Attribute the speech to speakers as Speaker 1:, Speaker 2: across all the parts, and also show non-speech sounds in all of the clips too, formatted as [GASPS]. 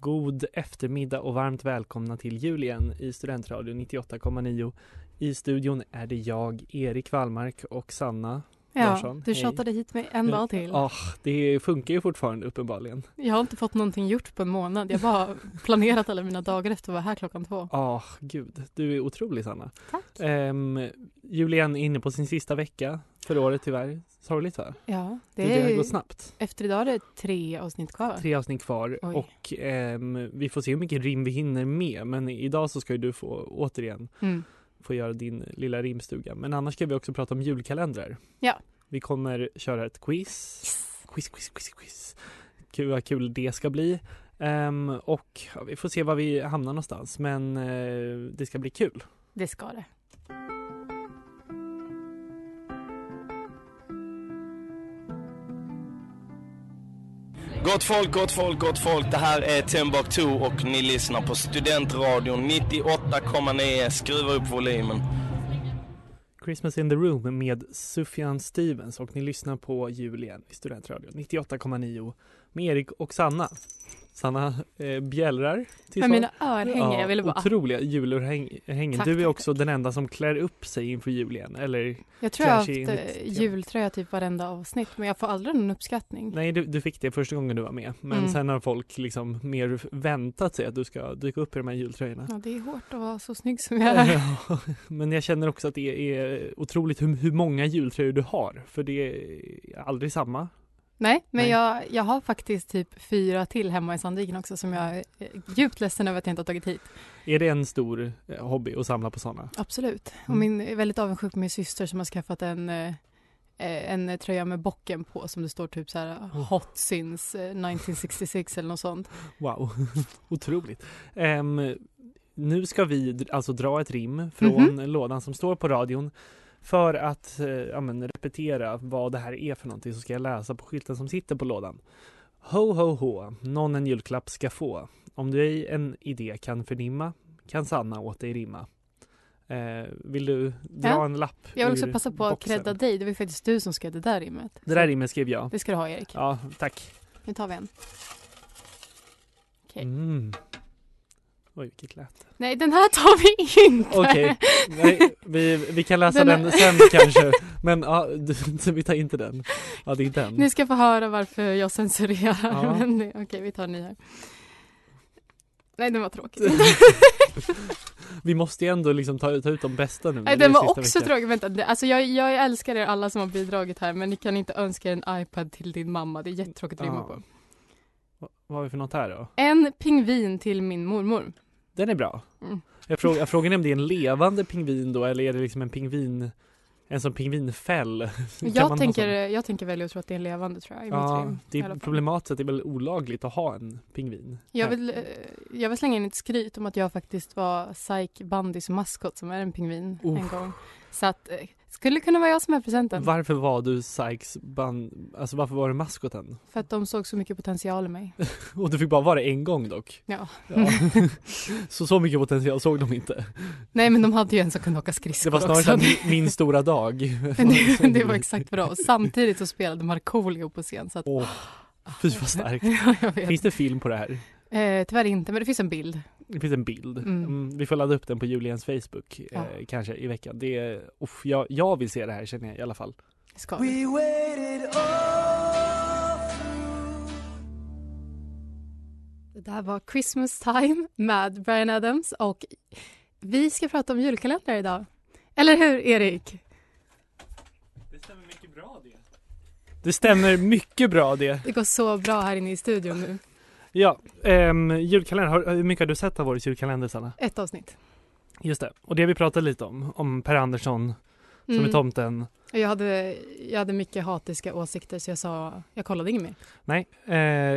Speaker 1: God eftermiddag och varmt välkomna till jul igen i Studentradion 98,9. I studion är det jag, Erik Wallmark och Sanna
Speaker 2: Ja,
Speaker 1: Larsson.
Speaker 2: du
Speaker 1: Hej.
Speaker 2: tjattade hit mig en dag till.
Speaker 1: Ah, det funkar ju fortfarande uppenbarligen.
Speaker 2: Jag har inte fått någonting gjort på en månad. Jag bara [LAUGHS] har planerat alla mina dagar efter att vara här klockan två.
Speaker 1: Ah, gud, du är otrolig Sanna.
Speaker 2: Tack.
Speaker 1: Ehm, Julian är inne på sin sista vecka för året tyvärr. Sorgligt va?
Speaker 2: Ja,
Speaker 1: Det,
Speaker 2: det är
Speaker 1: har
Speaker 2: ju,
Speaker 1: gått snabbt.
Speaker 2: efter idag är det tre avsnitt kvar.
Speaker 1: Tre avsnitt kvar
Speaker 2: Oj.
Speaker 1: och ehm, vi får se hur mycket rim vi hinner med men idag så ska ju du få återigen
Speaker 2: Mm.
Speaker 1: få göra din lilla rimstuga. Men annars ska vi också prata om julkalendrar.
Speaker 2: Ja.
Speaker 1: Vi kommer köra ett quiz. Quiz, quiz, quiz, quiz. Gud vad kul det ska bli. Ehm, och ja, vi får se var vi hamnar någonstans men eh, det ska bli kul.
Speaker 2: Det ska det.
Speaker 3: Gott folk, gott folk, gott folk. Det här är Timbuktu och ni lyssnar på Studentradion 98,9. Skruva upp volymen.
Speaker 1: Christmas in the room med Sufjan Stevens och ni lyssnar på Julien i Studentradion 98,9 med Erik och Sanna. Sanna eh, bjällrar till
Speaker 2: Men
Speaker 1: sång.
Speaker 2: mina örhängen, jag ville bara...
Speaker 1: Otroliga julörhängen.
Speaker 2: Tack,
Speaker 1: Du är
Speaker 2: tack,
Speaker 1: också den enda som klär upp sig inför jul igen. Eller
Speaker 2: Jag tror jag har haft
Speaker 1: kanske enligt-
Speaker 2: eh, jultröja typ varenda avsnitt, men jag får aldrig någon uppskattning.
Speaker 1: nej, du, du fick det första gången du var med. Men
Speaker 2: Mm.
Speaker 1: sen har folk liksom mer väntat sig att du ska dyka upp i de här jultröjorna.
Speaker 2: Ja, det är hårt att vara så snygg som jag är.
Speaker 1: [LAUGHS] Ja, Men jag känner också att det är otroligt hur, hur många jultröjor du har. För det är aldrig samma.
Speaker 2: Nej, men
Speaker 1: Nej.
Speaker 2: Jag, jag har faktiskt typ fyra till hemma i Sandviken också som jag är eh, djupt ledsen över att jag inte har tagit hit.
Speaker 1: Är det en stor eh, hobby att samla på sådana?
Speaker 2: Absolut. Och
Speaker 1: Mm.
Speaker 2: min, jag är väldigt avundsjuk på min syster som har skaffat en, eh, eh, en tröja med bocken på som det står typ så här
Speaker 1: Oh.
Speaker 2: Hot since eh, 1966 eller något sånt.
Speaker 1: Wow, [LAUGHS] otroligt. Ehm, nu ska vi dr- alltså dra ett rim från
Speaker 2: Mhm.
Speaker 1: lådan som står på radion. För att eh, ja, men repetera vad det här är för någonting så ska jag läsa på skylten som sitter på lådan. Ho, ho, ho, någon en julklapp ska få. Om du ej en idé kan förnimma kan Sanna åt dig rimma. Eh, vill du dra
Speaker 2: Ja.
Speaker 1: en lapp
Speaker 2: Jag vill också
Speaker 1: ur
Speaker 2: passa på att
Speaker 1: boxen?
Speaker 2: credda dig. Det var ju faktiskt du som skrev det där rimmet.
Speaker 1: Det där rimmet skrev jag.
Speaker 2: Det ska du ha Erik.
Speaker 1: Ja, tack.
Speaker 2: Nu tar vi en. Okej.
Speaker 1: Mm. Oj, vilket lätt.
Speaker 2: Nej, den här tar vi inte.
Speaker 1: Okej, nej, vi, vi kan läsa den,
Speaker 2: Den-
Speaker 1: sen kanske. Men ja, du, [LAUGHS] så vi tar inte den. Ja, det är den.
Speaker 2: [LAUGHS] Ni ska få höra varför jag censurerar.
Speaker 1: Ja.
Speaker 2: [LAUGHS] Men det- Okej, vi tar en ny här. Nej, den var
Speaker 1: [LAUGHS]
Speaker 2: tråkig. [LAUGHS]
Speaker 1: Vi måste ju ändå liksom ta, ta ut de bästa nu.
Speaker 2: Nej,
Speaker 1: när
Speaker 2: den
Speaker 1: det är
Speaker 2: var
Speaker 1: sista
Speaker 2: också
Speaker 1: veckan.
Speaker 2: tråkig. Vänta, det- alltså jag, jag älskar er alla som har bidragit här men ni kan inte önska er en iPad till din mamma. Det är jättetråkigt att rimma
Speaker 1: Ja.
Speaker 2: på.
Speaker 1: Vad- Vad har vi för något här då?
Speaker 2: En pingvin till min
Speaker 1: [LAUGHS]
Speaker 2: mormor.
Speaker 1: Den är bra.
Speaker 2: Mm.
Speaker 1: Jag, fråg, jag frågar om det är en levande pingvin då eller är det liksom en pingvin, en sån pingvinfäll? [LAUGHS] Kan man ha
Speaker 2: Jag tänker,
Speaker 1: sån?
Speaker 2: jag tänker välja att tro att det är en levande tror jag i mitt
Speaker 1: Ja,
Speaker 2: rim.
Speaker 1: det
Speaker 2: i alla
Speaker 1: är
Speaker 2: fall.
Speaker 1: problematiskt att det är väl olagligt att ha en pingvin.
Speaker 2: Jag
Speaker 1: här.
Speaker 2: vill, eh, jag vill slänga in ett skryt om att jag faktiskt var Psyche Bandys maskot som är en pingvin
Speaker 1: Oh.
Speaker 2: en gång. Så att, eh, skulle kunna vara jag som är presenten.
Speaker 1: Varför var du Sykes band, alltså varför var du maskoten?
Speaker 2: För att de såg så mycket potential i mig.
Speaker 1: Och du fick bara vara det en gång dock.
Speaker 2: Ja.
Speaker 1: Ja. så så mycket potential såg de inte.
Speaker 2: Nej men de hade ju en som kunde åka
Speaker 1: Det
Speaker 2: skridskor
Speaker 1: var snarare
Speaker 2: också.
Speaker 1: såhär, min stora dag.
Speaker 2: [LAUGHS] det, det var exakt bra. Och samtidigt så spelade Markoolio på scen. Så att, [LAUGHS]
Speaker 1: Åh, fy vad starkt.
Speaker 2: ja, jag vet.
Speaker 1: Finns det film på det här?
Speaker 2: Eh, tyvärr inte, men det finns en bild.
Speaker 1: Det finns en bild.
Speaker 2: Mm.
Speaker 1: Mm, vi får ladda upp den på Julians Facebook
Speaker 2: Ja.
Speaker 1: eh, kanske i veckan. Det är, uff, jag, jag vill se det här känner jag i alla fall.
Speaker 2: Ska. vi?
Speaker 3: We waited all
Speaker 2: Det där var Christmas time med Brian Adams och vi ska prata om julkalendrar idag. Eller hur, Erik?
Speaker 1: Det stämmer mycket bra det. Det stämmer mycket bra det.
Speaker 2: Det går så bra här inne i studion nu.
Speaker 1: Ja, ehm, julkalender. Har- Hur mycket har du sett av årets julkalender Sanna?
Speaker 2: Ett avsnitt.
Speaker 1: Just det, och det vi pratade lite om, om Per Andersson som är tomten.
Speaker 2: Mm. Och Jag hade, jag hade mycket hatiska åsikter så jag sa, jag kollade inget mer.
Speaker 1: Nej, eh,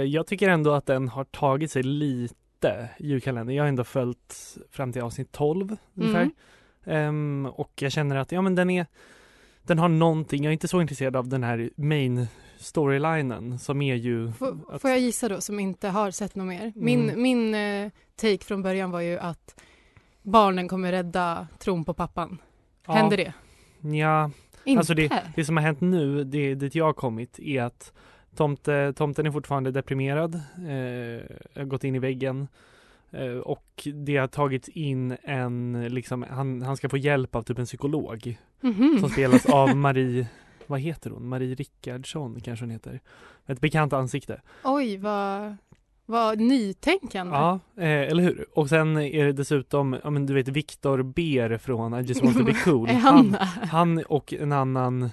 Speaker 1: jag tycker ändå att den har tagit sig lite, julkalendern. Jag har ändå följt fram till avsnitt 12 ungefär.
Speaker 2: Mm.
Speaker 1: Ehm, och jag känner att ja, men den, är, den har någonting. Jag är inte så intresserad av den här main storylinen som är ju...
Speaker 2: Får,
Speaker 1: Mm, att-
Speaker 2: får jag gissa då, som inte har sett något mer? Min,
Speaker 1: Mm.
Speaker 2: min eh, take från början var ju att barnen kommer rädda tron på pappan.
Speaker 1: ja,
Speaker 2: Händer det?
Speaker 1: Ja,
Speaker 2: Inte?
Speaker 1: Alltså det som har hänt nu, det dit jag har kommit, är att tomte, tomten är fortfarande deprimerad, eh, har gått in i väggen eh, och det har tagits in en, liksom, han, han ska få hjälp av typ en psykolog
Speaker 2: Mhm.
Speaker 1: som spelas
Speaker 2: [LAUGHS]
Speaker 1: av Marie, vad heter hon? Marie Rickardsson kanske hon heter. Ett bekant ansikte.
Speaker 2: Oj, vad, vad nytänkande.
Speaker 1: Ja, eh, eller hur? Och sen är det dessutom, ja men du vet Viktor Ber från I just want to be cool.
Speaker 2: [LAUGHS] Är han,
Speaker 1: han och en annan,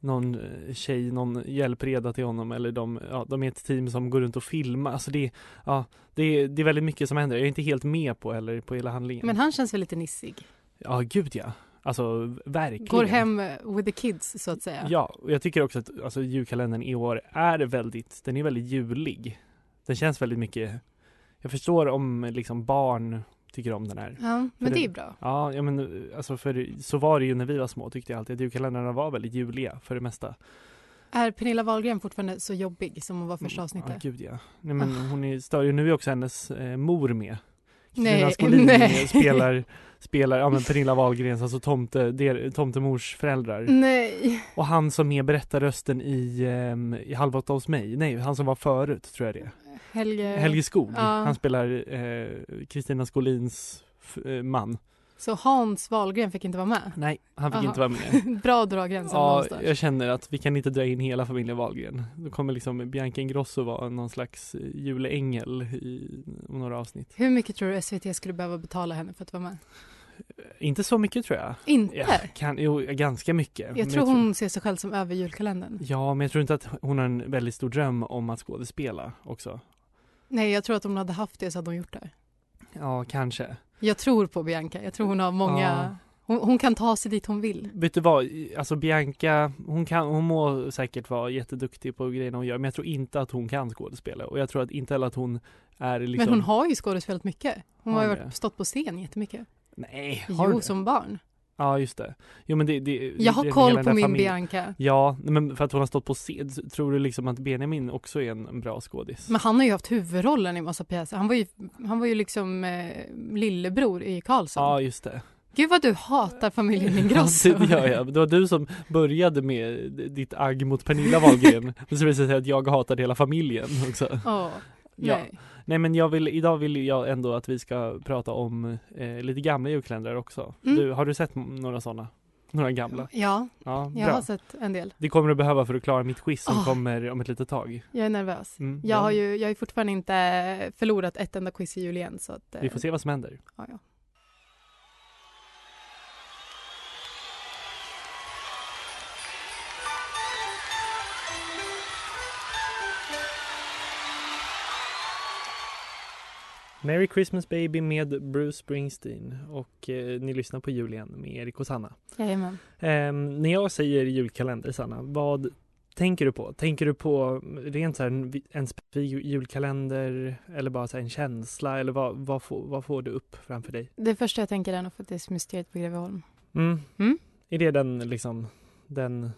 Speaker 1: någon eh, tjej, någon hjälpreda till honom eller de, ja, de är ett team som går runt och filmar. Alltså det, ja, det, är- det är väldigt mycket som händer. Jag är inte helt med på heller på hela handlingen.
Speaker 2: Men han känns väl lite nissig?
Speaker 1: Ja, gud ja. Alltså verkligen.
Speaker 2: Går hem with the kids så att säga.
Speaker 1: Ja, och jag tycker också att alltså, julkalendern i år är väldigt, den är väldigt julig. Den känns väldigt mycket, jag förstår om eh, liksom barn tycker om den här.
Speaker 2: Ja, men det är bra.
Speaker 1: Ja, ja men eh, alltså för så var det ju när vi var små tyckte jag alltid att julkalendrarna var väldigt juliga för det mesta.
Speaker 2: Är Pernilla Wahlgren fortfarande så jobbig som hon var första
Speaker 1: Mm, Ja,
Speaker 2: avsnittet? Ah.
Speaker 1: gud ja. Nej men hon är större, och nu är också hennes eh, mor med. Kristina
Speaker 2: [LAUGHS] Nej,
Speaker 1: Skolin
Speaker 2: nej.
Speaker 1: spelar, spelar, ja men Pernilla Wahlgrens, alltså tomte, der, tomtemors
Speaker 2: Mm.
Speaker 1: föräldrar.
Speaker 2: Nej.
Speaker 1: Och han som är berättarrösten i, ehm, i Halv åtta hos mig, nej han som var förut tror jag det är.
Speaker 2: Helge.
Speaker 1: Helge Skog,
Speaker 2: Eh, Ja.
Speaker 1: han spelar eh, Kristina Skolins f- eh, man.
Speaker 2: Så Hans Wahlgren fick inte vara med?
Speaker 1: Nej, han fick
Speaker 2: Aha.
Speaker 1: inte vara
Speaker 2: [LAUGHS]
Speaker 1: med.
Speaker 2: Bra att dra gränsen
Speaker 1: Ja,
Speaker 2: någonstans.
Speaker 1: jag känner att vi kan inte dra in hela familjen Wahlgren. Då kommer liksom Bianca Ingrosso vara någon slags eh, juleängel i om några avsnitt.
Speaker 2: Hur mycket tror du SVT skulle behöva betala henne för att vara med?
Speaker 1: Inte så mycket tror jag.
Speaker 2: Inte?
Speaker 1: Ja, kan, jo, ganska mycket. Men
Speaker 2: Jag tror hon ser sig själv som över julkalendern.
Speaker 1: Ja, men jag tror inte att hon har en väldigt stor dröm om att skådespela också.
Speaker 2: Nej, jag tror att om hon hade haft det så hade hon gjort det.
Speaker 1: Ja, kanske.
Speaker 2: Jag tror på Bianca. Jag tror hon har många... Hon, hon kan ta sig dit hon vill.
Speaker 1: Vet du vad, alltså Bianca, hon, kan, hon må säkert vara jätteduktig på grejerna hon gör, men jag tror inte att hon kan skådespela och jag tror att inte heller att hon är liksom...
Speaker 2: Men hon har ju skådespelat mycket. Hon har
Speaker 1: Har
Speaker 2: ju
Speaker 1: hon
Speaker 2: varit,
Speaker 1: det?
Speaker 2: stått på scen jättemycket.
Speaker 1: Nej, har hon
Speaker 2: Jo,
Speaker 1: det?
Speaker 2: som barn.
Speaker 1: Ja, just det. Jo, men det, det
Speaker 2: Jag har
Speaker 1: det är
Speaker 2: koll
Speaker 1: hela
Speaker 2: på
Speaker 1: den
Speaker 2: min
Speaker 1: där familjen.
Speaker 2: Bianca.
Speaker 1: Ja, nej, men för att hon har stått på scen, tror du liksom att Benjamin också är en, en bra skådis?
Speaker 2: Men han har ju haft huvudrollen i massa pjäser. Han var ju, han var ju liksom eh, lillebror i Karlsson.
Speaker 1: Ja, just
Speaker 2: [LAUGHS]
Speaker 1: det.
Speaker 2: Gud vad du hatar familjen Ingrosso.
Speaker 1: Ja, det gör
Speaker 2: [LAUGHS]
Speaker 1: jag. Det var du som började med ditt agg mot Pernilla Wahlgren. Men så visade det sig att jag hatade hela familjen också.
Speaker 2: Ja,
Speaker 1: Ja.
Speaker 2: nej.
Speaker 1: Nej men jag vill, idag vill jag ändå att vi ska prata om eh, lite gamla julkalendrar också.
Speaker 2: Mm.
Speaker 1: Du, har du sett m- några sådana? Några gamla?
Speaker 2: Ja,
Speaker 1: Ja,
Speaker 2: jag
Speaker 1: bra.
Speaker 2: har sett en del.
Speaker 1: Det kommer du behöva för att klara mitt quiz som
Speaker 2: Åh.
Speaker 1: kommer om ett litet tag.
Speaker 2: Jag är nervös.
Speaker 1: Mm,
Speaker 2: Jag har ju jag har ju fortfarande inte förlorat ett enda quiz i jul igen. Så att, eh,
Speaker 1: Vi får se vad som händer.
Speaker 2: Ja, ja.
Speaker 1: Merry Christmas baby med Bruce Springsteen och eh, ni lyssnar på jul igen med Erik och Sanna.
Speaker 2: Jajamän.
Speaker 1: Ehm, när jag säger julkalender Sanna, vad tänker du på? Tänker du på mm, rent så här en, en specifik julkalender eller bara så här en känsla eller vad, vad, får, vad får du upp framför dig?
Speaker 2: Det första jag tänker är nog faktiskt mysteriet på Greveholm.
Speaker 1: Mm.
Speaker 2: Mm.
Speaker 1: Är det den liksom, den,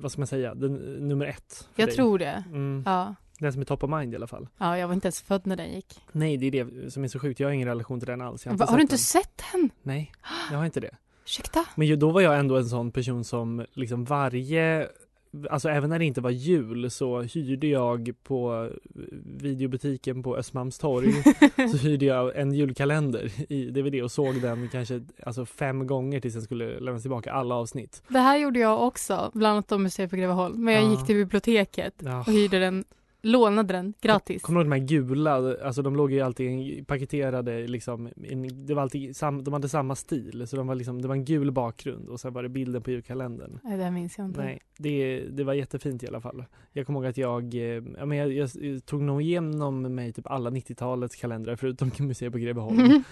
Speaker 1: vad ska man säga, den eh, nummer ett? För
Speaker 2: Jag
Speaker 1: dig?
Speaker 2: tror det.
Speaker 1: Mm.
Speaker 2: Ja.
Speaker 1: Den som är top of mind i alla fall.
Speaker 2: ja, jag var inte ens född när den gick.
Speaker 1: Nej, det är det som är så sjukt. Jag har ingen relation till den alls. Jag
Speaker 2: Har, har du inte
Speaker 1: den.
Speaker 2: sett den? [GASPS]
Speaker 1: Nej, jag har inte det.
Speaker 2: Ursäkta?
Speaker 1: Men ju, då var jag ändå en sån person som liksom varje, alltså även när det inte var jul så hyrde jag på eh, videobutiken på
Speaker 2: [LAUGHS]
Speaker 1: Östermalmstorg så hyrde jag en julkalender i DVD och såg den kanske alltså fem gånger tills den skulle lämnas tillbaka alla avsnitt.
Speaker 2: Det här gjorde jag också, bland annat om museet på Greveholm. Men jag
Speaker 1: Ja.
Speaker 2: gick till biblioteket
Speaker 1: Ja.
Speaker 2: och hyrde den, lånade den gratis.
Speaker 1: Kommer du ihåg de här gula, alltså de låg ju alltid i- paketerade liksom, i en- det var alltid, sam, de hade samma stil så de var liksom, det var en gul bakgrund och sen var det bilden på julkalendern.
Speaker 2: Nej, det här minns jag inte.
Speaker 1: Nej, det, det var jättefint i alla fall. Jag kommer ihåg att jag, eh, ja, men jag, jag, tog nog igenom mig typ alla 90-talets kalendrar förutom Museet på Greveholm.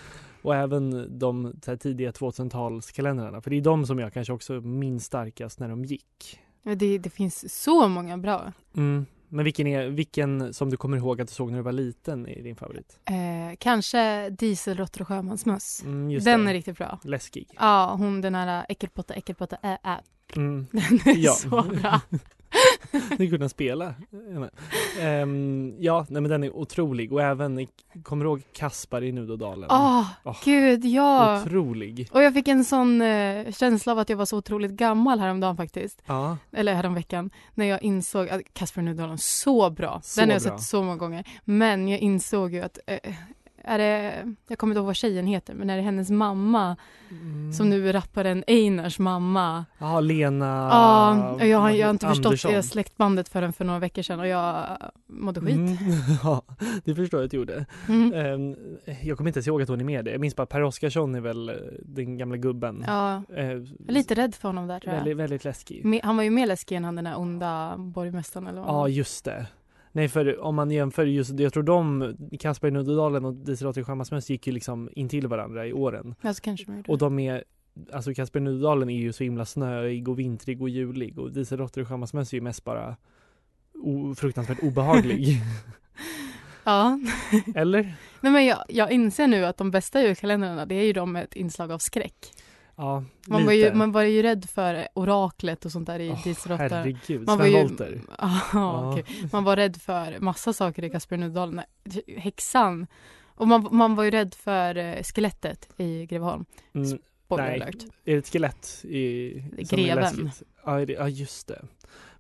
Speaker 1: Och även de så här, tidiga 2000-talskalendrarna. För det är de som jag kanske också minns starkast när de gick.
Speaker 2: Ja, Det, det finns så många bra.
Speaker 1: Mm. Men vilken, är, vilken som du kommer ihåg att du såg när du var liten är din favorit?
Speaker 2: Eh, kanske Dieselråttor och sjömansmöss.
Speaker 1: Mm, just
Speaker 2: Den
Speaker 1: det.
Speaker 2: är riktigt bra.
Speaker 1: Läskig.
Speaker 2: Ja, hon den här äckelpotta, äckelpotta, ä, ä. [LAUGHS]
Speaker 1: Mm.
Speaker 2: Den är
Speaker 1: Ja. [LAUGHS]
Speaker 2: så bra.
Speaker 1: Ni kunde spela. Ehm, ja, nej, men den är otrolig och även, kommer du ihåg Kaspar i Nudodalen?
Speaker 2: Åh,
Speaker 1: Åh,
Speaker 2: gud ja.
Speaker 1: Otrolig.
Speaker 2: Och jag fick en sån eh, känsla av att jag var så otroligt gammal häromdagen faktiskt.
Speaker 1: Ja,
Speaker 2: Eller häromveckan. När jag insåg att Kasper Nudalen, så bra.
Speaker 1: Så
Speaker 2: den har jag
Speaker 1: bra.
Speaker 2: sett så många gånger. Men jag insåg ju att eh, är det, jag kommer inte ihåg vad tjejen heter, men är det hennes mamma som nu är rapparen Einars mamma?
Speaker 1: Mm. ja Lena
Speaker 2: Ah, Ja, och jag, har- jag har inte förstått
Speaker 1: Ah, Andersson.
Speaker 2: det släktbandet förrän för några veckor sedan och jag mådde skit.
Speaker 1: Mm, [LAUGHS] ja, det förstår jag att du gjorde.
Speaker 2: Mm.
Speaker 1: Ehm, jag kommer inte ens ihåg att hon är med det. Jag minns bara Per Oscarsson är väl eh, den gamla gubben.
Speaker 2: Ja,
Speaker 1: Ehm,
Speaker 2: jag är lite rädd för honom där tror jag.
Speaker 1: väldigt, väldigt läskig.
Speaker 2: Me- Han var ju mer läskig än han den där onda borgmästaren eller vad
Speaker 1: Ja, just det. Nej, för om man jämför just, jag tror de, Kasper i Nuddedalen och Dieselråttor i Sjömansmöss gick ju liksom intill varandra i åren.
Speaker 2: Ja, så kanske de gjorde.
Speaker 1: Och de är, alltså Kasper i Nuddedalen är ju så himla snöig och vintrig och julig och Dieselråttor i Sjömansmöss är ju mest bara o, fruktansvärt
Speaker 2: [LAUGHS]
Speaker 1: obehaglig.
Speaker 2: Ja, [LAUGHS]
Speaker 1: Eller?
Speaker 2: Nej, men jag, jag inser nu att de bästa julkalendrarna det är ju de med ett inslag av skräck.
Speaker 1: Ja,
Speaker 2: Man,
Speaker 1: lite.
Speaker 2: var ju, man var ju rädd för oraklet och sånt där i
Speaker 1: Åh,
Speaker 2: Dieselråttor.
Speaker 1: Herregud,
Speaker 2: Man var
Speaker 1: Sven
Speaker 2: ju,
Speaker 1: Wollter.
Speaker 2: [LAUGHS] ja, okej. man var rädd för massa saker i Kasper Nudalen. Häxan. Och man, man var ju rädd för eh, skelettet i Greveholm.
Speaker 1: Mm,
Speaker 2: Spoiler
Speaker 1: Nej.
Speaker 2: alert.
Speaker 1: är det ett skelett i... som är
Speaker 2: Greven.
Speaker 1: läskigt? Ja, är det, ja, just det.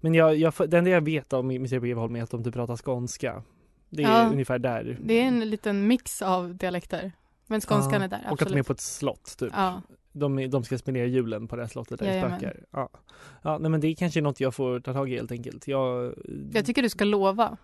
Speaker 1: Men jag, jag, det enda jag vet om Museet på Greveholm är att de typ pratar skånska. Det är
Speaker 2: Ja.
Speaker 1: ungefär där
Speaker 2: Det är en liten mix av dialekter. Men skånskan
Speaker 1: Ja,
Speaker 2: är där,
Speaker 1: Och att de är
Speaker 2: absolut.
Speaker 1: på ett slott typ.
Speaker 2: Ja.
Speaker 1: De, är- de ska spendera julen på det här slottet där det
Speaker 2: Jajamän.
Speaker 1: spökar. Ja. ja, nej men det är kanske något jag får ta tag i helt enkelt. Jag,
Speaker 2: Jag tycker du ska lova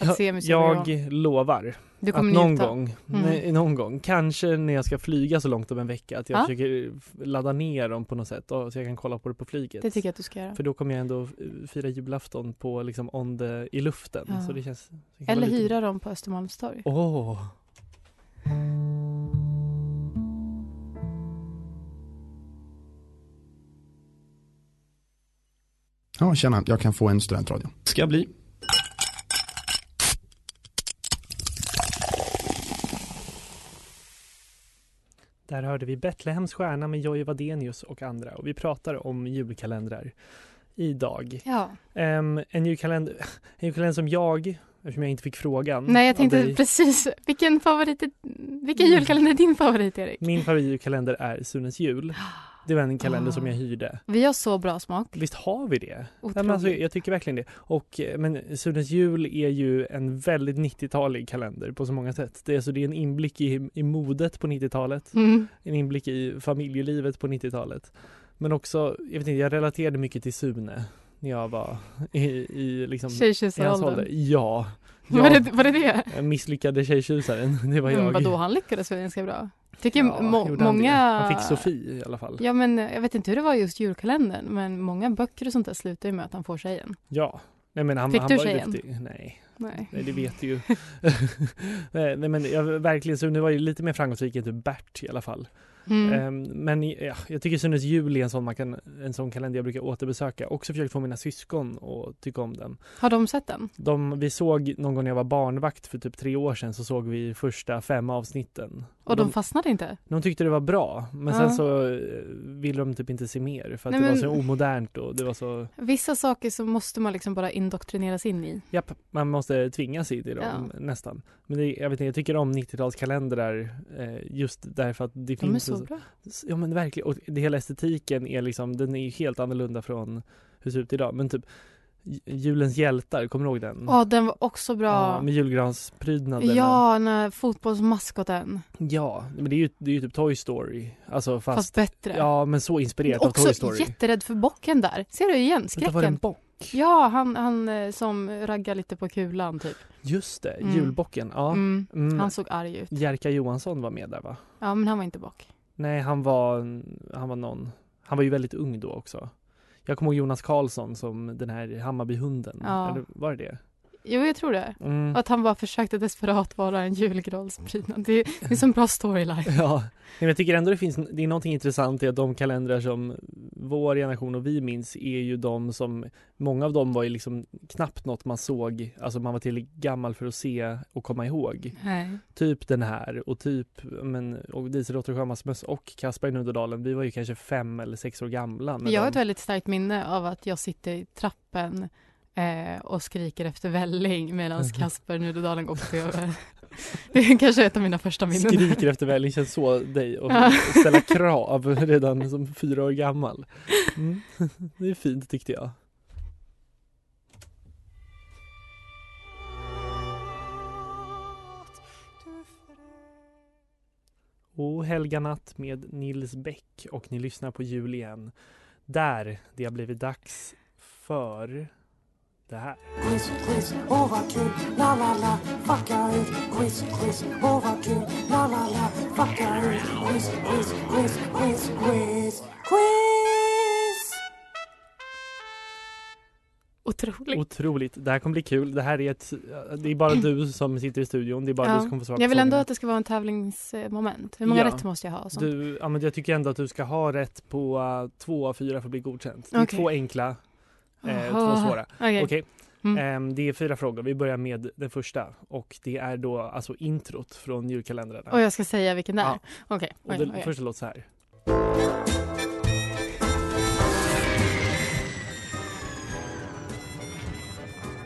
Speaker 2: att
Speaker 1: Ja,
Speaker 2: se Museum
Speaker 1: jag
Speaker 2: Greveholm.
Speaker 1: lovar
Speaker 2: Du
Speaker 1: att
Speaker 2: kommer
Speaker 1: någon
Speaker 2: njuta. Mm.
Speaker 1: gång, nej, någon gång, kanske när jag ska flyga så långt om en vecka, att jag
Speaker 2: Ja.
Speaker 1: försöker ladda ner dem på något sätt och, så jag kan kolla på det på flyget.
Speaker 2: Det tycker jag att du ska göra.
Speaker 1: För då kommer jag ändå eh, fira julafton på liksom on the, i luften.
Speaker 2: Ja.
Speaker 1: Så det känns, det kan
Speaker 2: Eller
Speaker 1: vara lite-
Speaker 2: hyra dem på Östermalmstorg.
Speaker 1: Åh!
Speaker 4: Ja, tjena, jag kan få en studentradio.
Speaker 5: Ska bli.
Speaker 1: Där hörde vi Betlehems stjärna med Jojje Wadenius och andra och vi pratar om julkalendrar idag.
Speaker 2: Ja.
Speaker 1: Ehm, en, julkalender, en julkalender som jag, eftersom jag inte fick frågan.
Speaker 2: Nej, jag
Speaker 1: av
Speaker 2: tänkte
Speaker 1: dig.
Speaker 2: precis. Vilken favorit är, vilken
Speaker 1: Mm.
Speaker 2: julkalender är din favorit, Erik?
Speaker 1: Min favoritjulkalender är Sunes jul. Det var en kalender
Speaker 2: Ah.
Speaker 1: som jag hyrde.
Speaker 2: Vi har så bra smak.
Speaker 1: Visst har vi det? Nej,
Speaker 2: Otroligt.
Speaker 1: men alltså, jag tycker verkligen det. Och, eh, men Sunes jul är ju en väldigt 90-talig kalender på så många sätt. Det är, alltså, det är en inblick i, i modet på 90-talet.
Speaker 2: mm.
Speaker 1: en inblick i familjelivet på 90-talet. Men också, jag vet inte, jag relaterade mycket till Sune när jag var i, i liksom i hans ålder.
Speaker 2: Tjejtjusaråldern.
Speaker 1: Ja.
Speaker 2: [LAUGHS] Var,
Speaker 1: ja
Speaker 2: det, var det det?
Speaker 1: den misslyckade tjejtjusaren, [LAUGHS] det var jag.
Speaker 2: Men vadå, han lyckades väl ganska bra? Tycker
Speaker 1: Ja,
Speaker 2: må,
Speaker 1: gjorde han det?
Speaker 2: många...
Speaker 1: Han fick Sofie i alla fall.
Speaker 2: Ja, men eh, jag vet inte hur det var just julkalendern, men många böcker och sånt där slutar ju med att han får tjejen.
Speaker 1: Ja. Nej men han,
Speaker 2: Fick
Speaker 1: han
Speaker 2: du
Speaker 1: var ju
Speaker 2: tjejen?
Speaker 1: duktig. Nej,
Speaker 2: Nej.
Speaker 1: nej, det vet du ju. [LAUGHS] nej nej, men jag, verkligen Sune var ju lite mer framgångsrik än typ Bert i alla fall.
Speaker 2: Mm.
Speaker 1: Ehm, men ja, jag tycker Sunes jul är en sån, man kan, en sån kalender jag brukar återbesöka. Också försökt få mina syskon att tycka om den.
Speaker 2: Har de sett den?
Speaker 1: De, vi såg någon gång när jag var barnvakt för typ tre år sedan så såg vi första fem avsnitten.
Speaker 2: Och de
Speaker 1: de,
Speaker 2: fastnade inte?
Speaker 1: de tyckte det var bra men
Speaker 2: Ja.
Speaker 1: sen så eh, ville de typ inte se mer för att
Speaker 2: Nej,
Speaker 1: det var
Speaker 2: men-
Speaker 1: så omodernt och det var så,
Speaker 2: Vissa saker så måste man liksom bara indoktrineras in i.
Speaker 1: japp, man måste tvingas in i dem nästan. Men det, jag vet inte, jag tycker om 90-talskalendrar eh, just därför att det
Speaker 2: De är
Speaker 1: finns en
Speaker 2: så
Speaker 1: så-
Speaker 2: bra.
Speaker 1: Ja men verkligen, och det hela estetiken är liksom, den är ju helt annorlunda från hur det ser ut idag. Men typ j- Julens hjältar, kommer du ihåg den?
Speaker 2: Ja, den var också
Speaker 1: Ja,
Speaker 2: bra.
Speaker 1: med julgransprydnaderna.
Speaker 2: Ja, när fotbollsmaskoten.
Speaker 1: Ja, men det är ju, det är ju typ Toy Story. Alltså fast,
Speaker 2: Fast, bättre.
Speaker 1: ja men så inspirerat av
Speaker 2: också
Speaker 1: Toy Story.
Speaker 2: jätterädd för bocken där. Ser du igen?
Speaker 1: Vänta, var det en
Speaker 2: Skräcken.
Speaker 1: bock?
Speaker 2: Ja, han, han eh, som raggar lite på kulan typ.
Speaker 1: Just det,
Speaker 2: Mm.
Speaker 1: julbocken. Ja.
Speaker 2: Mm.
Speaker 1: Mm.
Speaker 2: Han såg arg ut.
Speaker 1: Jerka Johansson var med där va?
Speaker 2: Ja, men han var inte bock.
Speaker 1: Nej, han var, han var någon. Han var ju väldigt ung då också. Jag kommer ihåg Jonas Karlsson som den här Hammarbyhunden.
Speaker 2: Ja.
Speaker 1: Eller var det det?
Speaker 2: Jo, jag tror det.
Speaker 1: Mm.
Speaker 2: Och att han bara försökte desperat vara en julgransprydnad. Det, det är en sån bra
Speaker 1: [LAUGHS]
Speaker 2: storyline.
Speaker 1: [LAUGHS] Ja, men jag tycker ändå det finns, det är någonting intressant i att de kalendrar som vår generation och vi minns är ju de som, många av dem var ju liksom knappt något man såg, alltså man var tillräckligt gammal för att se och komma ihåg.
Speaker 2: Nej.
Speaker 1: Typ den här och typ, men, och Dieselråttor och Sjömansmöss och Kaspar i Nuddedalen, vi var ju kanske fem eller sex år gamla. när
Speaker 2: Jag har
Speaker 1: de-
Speaker 2: ett väldigt starkt minne av att jag sitter i trappen eh, och skriker efter
Speaker 1: [LAUGHS]
Speaker 2: välling medan Kasper Nudedalen går på tv. [LAUGHS] Det är kanske ett av mina första minnen.
Speaker 1: Skriker efter välling, känns så dig och
Speaker 2: Ja.
Speaker 1: [LAUGHS] ställa krav redan som fyra år gammal. Mm. [LAUGHS] Det är fint tyckte jag. Och Helga natt med Nils Bäck och ni lyssnar på jul igen. Där det har blivit dags för det här.
Speaker 5: Quiz, quiz, åh vad kul, la la la, eh. fucka ut. Quiz, quiz, åh vad kul, la la la, eh. fucka ut. Quiz, quiz, quiz, quiz, quiz, quiz.
Speaker 2: Otroligt.
Speaker 1: Otroligt. Det här kommer bli kul. Det här är ett, det är bara du som sitter i studion. Det är bara
Speaker 2: Ja.
Speaker 1: du som kommer få svara på
Speaker 2: Jag vill ändå
Speaker 1: frågorna.
Speaker 2: att det ska vara en tävlingsmoment. Hur många
Speaker 1: Ja.
Speaker 2: rätt måste jag ha? Och sånt?
Speaker 1: Du, ja, men jag tycker ändå att du ska ha rätt på eh, två av fyra för att bli godkänt. Det är
Speaker 2: Okej.
Speaker 1: två enkla, eh, två
Speaker 2: Aha.
Speaker 1: svåra.
Speaker 2: Okej.
Speaker 1: Okej,
Speaker 2: Mm.
Speaker 1: Ehm, det är fyra frågor. Vi börjar med den första och det är då alltså introt från julkalendrarna.
Speaker 2: Och jag ska säga vilken det är?
Speaker 1: Ja.
Speaker 2: Okej.
Speaker 1: Och
Speaker 2: oj,
Speaker 1: den
Speaker 2: oj, oj.
Speaker 1: första låter så här.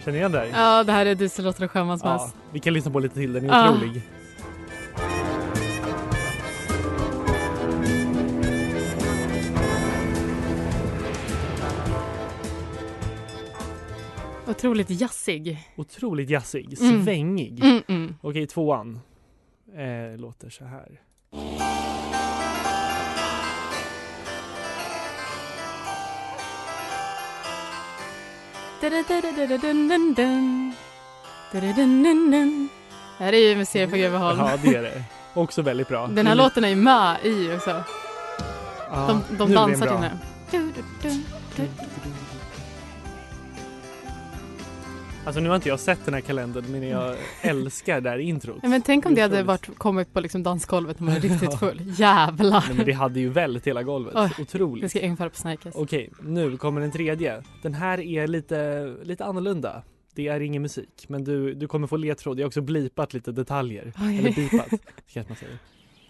Speaker 1: Känner ni igen det här?
Speaker 2: Ja, det här är Dieselråttor och Sjömansmöss.
Speaker 1: Ja, vi kan lyssna på lite till, den är
Speaker 2: Ja.
Speaker 1: otrolig.
Speaker 2: Otroligt jazzig.
Speaker 1: Otroligt jazzig,
Speaker 2: Mm.
Speaker 1: svängig.
Speaker 2: Mm, mm.
Speaker 1: Okej, tvåan eh, låter så här.
Speaker 2: Da-da-da-da-da-dun-dun-dun. Da-da-dun-dun-dun. Det här är ju Museer på Greveholm.
Speaker 1: Ja, det är det. Också väldigt bra. Mm.
Speaker 2: Den här låten är ju med i också.
Speaker 1: ja,
Speaker 2: De,
Speaker 1: nu
Speaker 2: de
Speaker 1: är den
Speaker 2: dansar till
Speaker 1: bra.
Speaker 2: den. här. Du-du-dun.
Speaker 1: Alltså nu har inte jag sett den här kalendern men jag
Speaker 2: [LAUGHS]
Speaker 1: älskar det här introt.
Speaker 2: Ja, Men tänk om det hade
Speaker 1: Otroligt.
Speaker 2: varit, kommit på liksom dansgolvet
Speaker 1: [LAUGHS]
Speaker 2: när man är
Speaker 1: Ja.
Speaker 2: riktigt full. Jävlar!
Speaker 1: Nej, men det hade ju väldigt hela golvet.
Speaker 2: Oj,
Speaker 1: Otroligt.
Speaker 2: Det ska jag införa på Snärkes.
Speaker 1: Okej, nu kommer den tredje. Den här är lite, lite annorlunda. Det är ingen musik, men du, du kommer få ledtråd. Jag har också blipat lite detaljer.
Speaker 2: Okej.
Speaker 1: Eller
Speaker 2: [LAUGHS]
Speaker 1: bipat, kanske man säger.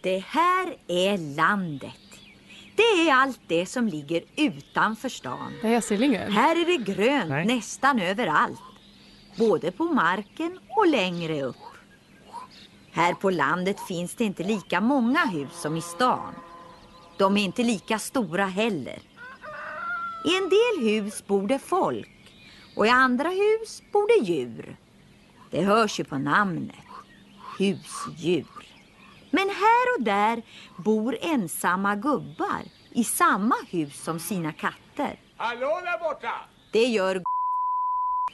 Speaker 6: Det här är landet. Det är allt det som ligger utanför stan.
Speaker 2: Det är Astrid
Speaker 1: [LAUGHS]
Speaker 2: Lindgren.
Speaker 6: Här är det grönt
Speaker 1: Nej.
Speaker 6: nästan överallt. Både på marken och längre upp. Här på landet finns det inte lika många hus som i stan. De är inte lika stora heller. I en del hus bor det folk och i andra hus bor det djur. Det hörs ju på namnet. Husdjur. Men här och där bor ensamma gubbar i samma hus som sina katter.
Speaker 7: Hallå där borta!
Speaker 6: Det gör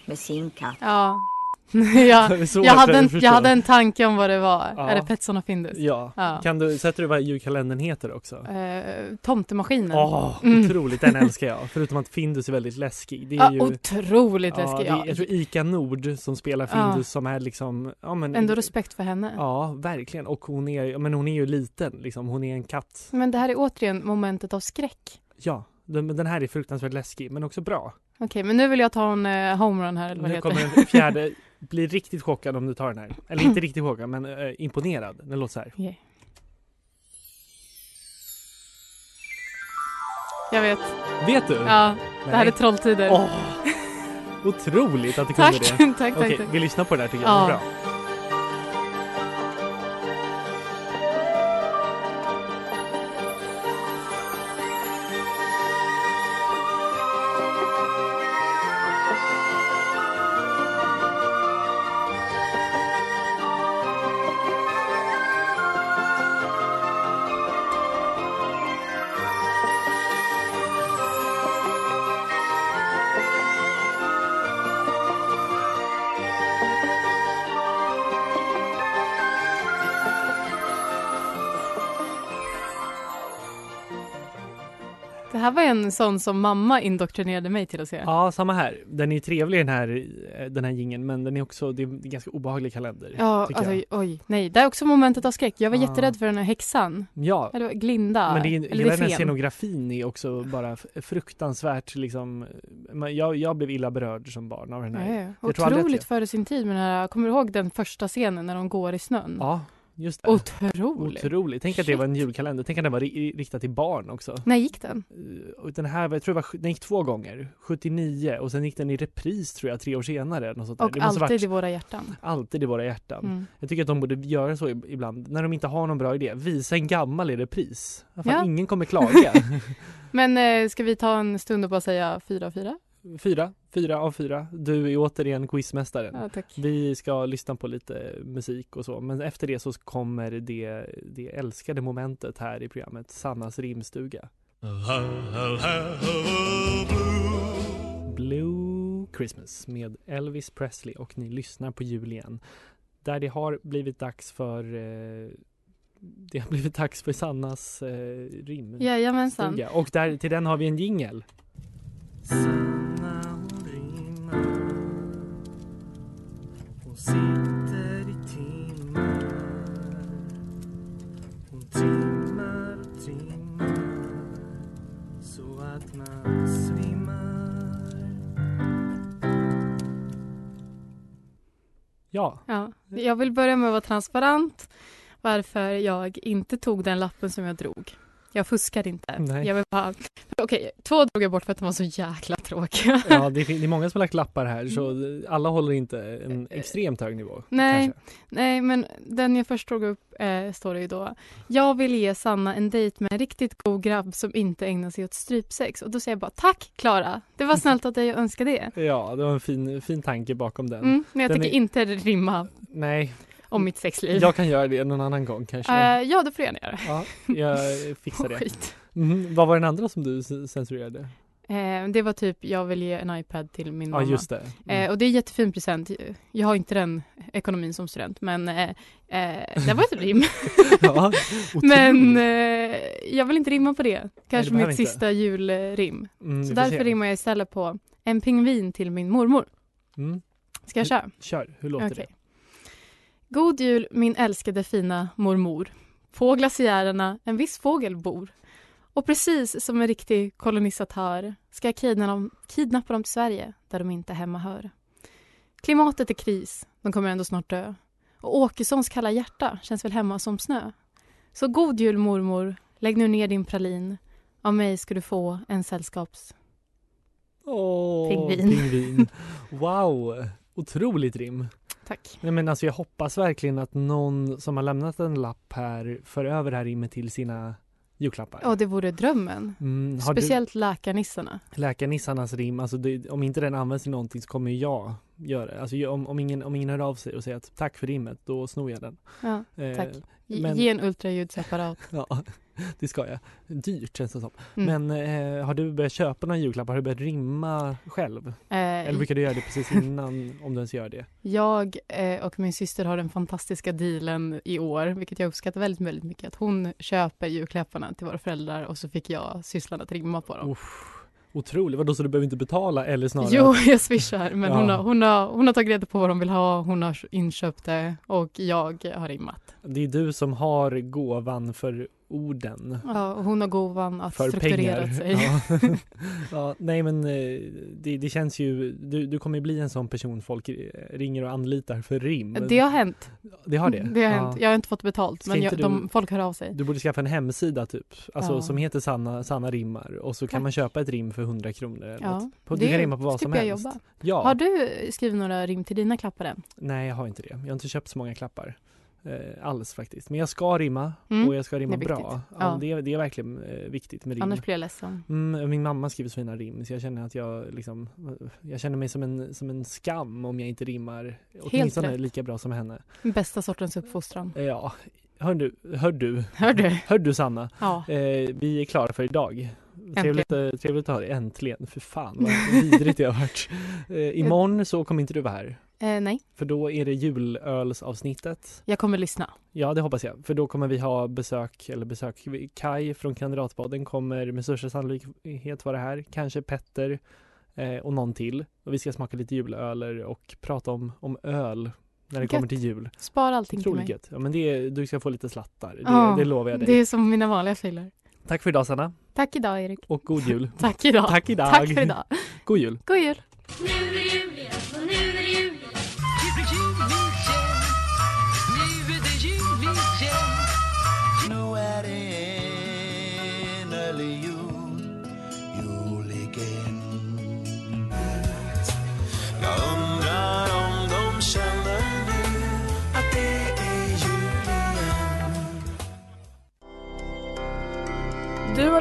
Speaker 6: med sin katt.
Speaker 2: Ja. [LAUGHS] jag,
Speaker 1: Det är svårt
Speaker 2: jag,
Speaker 1: att
Speaker 2: hade en,
Speaker 1: förstå.
Speaker 2: jag hade en tanke om vad det var.
Speaker 1: Ja.
Speaker 2: Är det Petson och Findus?
Speaker 1: Ja.
Speaker 2: Ja.
Speaker 1: Kan du, sätter du vad julkalendern heter också?
Speaker 2: Eh, tomtemaskinen.
Speaker 1: Åh,
Speaker 2: Mm.
Speaker 1: otroligt. Den älskar
Speaker 2: [LAUGHS]
Speaker 1: jag. Förutom att Findus är väldigt läskig. Det är
Speaker 2: Ja,
Speaker 1: ju...
Speaker 2: otroligt
Speaker 1: ja,
Speaker 2: läskig.
Speaker 1: det är,
Speaker 2: Ja.
Speaker 1: jag tror Ica Nord som spelar
Speaker 2: Ja.
Speaker 1: Findus som är liksom... Ja, men,
Speaker 2: Ändå respekt för henne.
Speaker 1: Ja, verkligen. Och hon är, ja, men hon är ju liten, liksom. hon är en katt.
Speaker 2: Men det här är återigen momentet av skräck.
Speaker 1: Ja, den, men den här är fruktansvärt läskig, men också bra.
Speaker 2: Okej, men nu vill jag ta en eh, homerun här eller vad
Speaker 1: Nu
Speaker 2: heter
Speaker 1: kommer
Speaker 2: det?
Speaker 1: den fjärde.
Speaker 2: [LAUGHS]
Speaker 1: Bli riktigt chockad om du tar den här. Eller inte riktigt chockad, men eh, imponerad. Den låter så här.
Speaker 2: Okej. Jag vet.
Speaker 1: Vet du?
Speaker 2: Ja, det här
Speaker 1: Nej.
Speaker 2: är Trolltider.
Speaker 1: Åh, otroligt att du
Speaker 2: tack.
Speaker 1: kunde det.
Speaker 2: [LAUGHS] tack, tack,
Speaker 1: Okej,
Speaker 2: tack.
Speaker 1: vi lyssnar på det här tycker jag.
Speaker 2: Ja.
Speaker 1: Bra.
Speaker 2: Åh, Det här var en sån som mamma indoktrinerade mig till att se.
Speaker 1: Ja, samma här. Den är ju trevlig den här, eh, den här gingen men den är också, det är en ganska obehaglig kalender.
Speaker 2: Ja,
Speaker 1: tycker
Speaker 2: alltså,
Speaker 1: jag.
Speaker 2: oj, nej. Det är också momentet av skräck. Jag var
Speaker 1: Ja.
Speaker 2: jätterädd för den här häxan.
Speaker 1: ja.
Speaker 2: Eller Glinda.
Speaker 1: Men det är,
Speaker 2: Eller
Speaker 1: hela
Speaker 2: det
Speaker 1: den här
Speaker 2: är fen.
Speaker 1: scenografin är också bara f- fruktansvärt liksom, men jag, jag blev illa berörd som barn av den
Speaker 2: Ja,
Speaker 1: här.
Speaker 2: ja.
Speaker 1: Jag tror aldrig att
Speaker 2: Otroligt
Speaker 1: jag-
Speaker 2: före sin tid med den här. Kommer du ihåg den första scenen när de går i snön?
Speaker 1: Ja, just det.
Speaker 2: Otroligt.
Speaker 1: Otroligt. Tänk att det var en julkalender. Tänk att den var ri- riktad till barn också.
Speaker 2: När gick den?
Speaker 1: Eh, Och den här, var- jag tror det var, sj- den gick två gånger, 79 och sen gick den i repris tror jag tre år senare. Något sånt där.
Speaker 2: Och
Speaker 1: det måste
Speaker 2: alltid
Speaker 1: varit
Speaker 2: i våra hjärtan.
Speaker 1: alltid i våra hjärtan.
Speaker 2: Mm.
Speaker 1: Jag tycker att de borde göra så ib- ibland, när de inte har någon bra idé. Visa en gammal i repris. Fan,
Speaker 2: Ja.
Speaker 1: Ingen kommer
Speaker 2: [LAUGHS]
Speaker 1: klaga.
Speaker 2: Men eh, ska vi ta en stund och bara säga fyra av fyra?
Speaker 1: fyra, fyra av fyra. Du är återigen quizmästaren.
Speaker 2: Ja, tack.
Speaker 1: Vi ska lyssna på lite musik och så, men efter det så kommer det, det älskade momentet här i programmet, Sannas rimstuga. Blue Christmas med Elvis Presley och ni lyssnar på jul igen. Där det har blivit dags för eh, det har blivit dags för Sannas eh, rimstuga.
Speaker 2: Jajamensan.
Speaker 1: Och där, till den har vi en jingel. Sanna hon rimmar Hon sitter i timmar Hon trimmar och trimmar Så att man svimmar
Speaker 2: [LAUGHS]
Speaker 1: Ja,
Speaker 2: Ja. Jag vill börja med att vara transparent varför jag inte tog den lappen som jag drog. Jag fuskar inte.
Speaker 1: Nej.
Speaker 2: Jag vill bara... Okej, två drog jag bort för att de var så jäkla tråkiga.
Speaker 1: ja det, fin- det är många som har lagt lappar här så alla håller inte en extremt hög nivå.
Speaker 2: Mm. Eh, Nej.
Speaker 1: kanske.
Speaker 2: [LAUGHS] Nej, men den jag först drog upp eh, står det ju då. Jag vill ge Sanna en dejt med en riktigt god grabb som inte ägnar sig åt strypsex. Och då säger jag bara tack Klara, det var snällt att dig att önska det.
Speaker 1: Ja, det var en fin, fin tanke bakom den.
Speaker 2: Mm, men jag
Speaker 1: Den
Speaker 2: tänker
Speaker 1: är-
Speaker 2: inte rimma
Speaker 1: Nej,
Speaker 2: om mitt sexliv.
Speaker 1: jag kan göra det någon annan gång kanske.
Speaker 2: Eh, ja, det får jag gärna göra.
Speaker 1: Ja,
Speaker 2: [LAUGHS]
Speaker 1: jag fixar det.
Speaker 2: Skit.
Speaker 1: Mhm, Vad var den andra som du c- censurerade?
Speaker 2: Eh, det var typ, jag vill ge en iPad till min
Speaker 1: Ja,
Speaker 2: mamma.
Speaker 1: just det.
Speaker 2: Eh,
Speaker 1: Mm.
Speaker 2: och det är en jättefin present. Jag har inte den ekonomin som student, men eh, eh, det var ett rim.
Speaker 1: [LAUGHS] Ja,
Speaker 2: men
Speaker 1: [LAUGHS] otroligt.
Speaker 2: eh, jag vill inte rimma på det. Kanske
Speaker 1: behöver
Speaker 2: mitt
Speaker 1: inte.
Speaker 2: sista julrim.
Speaker 1: Mm, vi
Speaker 2: Så
Speaker 1: får
Speaker 2: därför
Speaker 1: se.
Speaker 2: rimmar jag istället på en pingvin till min mormor.
Speaker 1: Mm.
Speaker 2: Ska jag köra?
Speaker 1: Kör, hur låter
Speaker 2: Okej. God jul min älskade fina mormor. På glaciärerna en viss fågel bor. Och precis som en riktig kolonisatör ska jag kidna dem, kidnappa dem till Sverige där de inte hemma hör. Klimatet är kris, de kommer ändå snart dö. Och Åkessons kalla hjärta känns väl hemma som snö. Så god jul mormor, lägg nu ner din pralin. Av mig ska du få en sällskaps...
Speaker 1: det? Åh,
Speaker 2: Pingvin. [LAUGHS]
Speaker 1: pingvin. Wow, otroligt rim.
Speaker 2: Tack.
Speaker 1: Nej, men alltså, jag hoppas verkligen att någon som har lämnat en lapp här för över det här rimmet till sina julklappar.
Speaker 2: Ja, det vore drömmen.
Speaker 1: Mm, har
Speaker 2: Speciellt läkarnissarna.
Speaker 1: du läkarnissarnas rim, alltså det, om inte den används till någonting så kommer ju jag göra det. Alltså, jag- om, om, ingen, om ingen hör av sig och säger att tack för rimmet, då snor jag den.
Speaker 2: Ja.
Speaker 1: Eh,
Speaker 2: Tack. Ge-
Speaker 1: Men-
Speaker 2: Ge en ultraljudsapparat.
Speaker 1: [LAUGHS] Ja, det ska jag. Dyrt känns det som.
Speaker 2: Mm.
Speaker 1: Men eh, har du börjat köpa några julklappar? Har du börjat rimma själv? Eller
Speaker 2: eh,
Speaker 1: brukar du göra det precis innan, om du ens gör det?
Speaker 2: jag eh, och min syster har den fantastiska dealen i år, vilket jag uppskattar väldigt, väldigt mycket, att hon köper julklapparna till våra föräldrar och så fick jag sysslan att rimma på dem.
Speaker 1: Uff, otroligt. Vadå, så du behöver inte betala eller snarare?
Speaker 2: Jo, jag swishar, men
Speaker 1: Ja.
Speaker 2: hon, har, hon, har, hon har tagit reda på vad de vill ha, hon har inköpt det och jag har rimmat.
Speaker 1: Det är du som har gåvan för orden.
Speaker 2: Ja, och hon har gåvan att
Speaker 1: För
Speaker 2: strukturera
Speaker 1: pengar.
Speaker 2: sig.
Speaker 1: Ja. [LAUGHS]
Speaker 2: [LAUGHS]
Speaker 1: ja, nej men eh, det, det känns ju, du, du kommer bli en sån person folk eh, ringer och anlitar för rim.
Speaker 2: Det har hänt.
Speaker 1: Det har det?
Speaker 2: har
Speaker 1: Ja.
Speaker 2: hänt. Jag har inte fått betalt,
Speaker 1: Ska
Speaker 2: men
Speaker 1: inte
Speaker 2: jag, de,
Speaker 1: du-
Speaker 2: folk hör av sig.
Speaker 1: Du borde skaffa en hemsida typ, alltså
Speaker 2: Ja.
Speaker 1: som heter Sanna, Sanna rimmar och så kan
Speaker 2: Tack.
Speaker 1: man köpa ett rim för 100 kronor. Eller
Speaker 2: Ja,
Speaker 1: något. På- Du kan rimma på vad som
Speaker 2: slipper jag
Speaker 1: helst.
Speaker 2: jobba.
Speaker 1: Ja,
Speaker 2: Har du skrivit några rim till dina klappar än?
Speaker 1: nej jag har inte det. Jag har inte köpt så många klappar. Eh, alls faktiskt. Men jag ska rimma
Speaker 2: Mm.
Speaker 1: och jag ska rimma
Speaker 2: Det är
Speaker 1: bra.
Speaker 2: viktigt.
Speaker 1: Ja,
Speaker 2: Ja.
Speaker 1: Det, är, det är verkligen eh, viktigt med rim.
Speaker 2: Annars blir jag ledsen.
Speaker 1: Mm, min mamma skriver så fina rim så jag känner att jag liksom, jag känner mig som en, som en skam om jag inte rimmar åtminstone
Speaker 2: rätt.
Speaker 1: lika bra som henne.
Speaker 2: Bästa sortens uppfostran.
Speaker 1: Eh, Ja, hör du, hör du,
Speaker 2: Hör du?
Speaker 1: [LAUGHS] hör du Sanna?
Speaker 2: Ja.
Speaker 1: Eh, vi är klara för idag. Trevligt, eh, trevligt att ha dig. Äntligen. För fan vad vidrigt det har varit. Eh, imorgon så kommer inte du vara här.
Speaker 2: Eh, nej,
Speaker 1: För då är det julölsavsnittet.
Speaker 2: jag kommer lyssna.
Speaker 1: Ja, det hoppas jag. För då kommer vi ha besök, eller besök, Kai från Kandidatbaden kommer med största sannolikhet vara här. Kanske Petter eh, och någon till. Och vi ska smaka lite julöler och prata om, om öl när det
Speaker 2: Gött.
Speaker 1: kommer till jul.
Speaker 2: Spara allting till
Speaker 1: Otroligt
Speaker 2: mig.
Speaker 1: gött. Ja, men det, är- du ska få lite slattar. Det,
Speaker 2: Ja,
Speaker 1: det lovar jag dig.
Speaker 2: Det är som mina vanliga filer.
Speaker 1: Tack för idag Sanna.
Speaker 2: Tack idag Erik.
Speaker 1: Och god
Speaker 2: [LAUGHS]
Speaker 1: jul.
Speaker 2: Tack idag.
Speaker 1: Tack idag.
Speaker 2: Tack för idag.
Speaker 1: God jul.
Speaker 2: God jul.
Speaker 7: Nu är det enölig jul, jul igen Jag undrar om de känner nu att det är jul igen
Speaker 8: Du har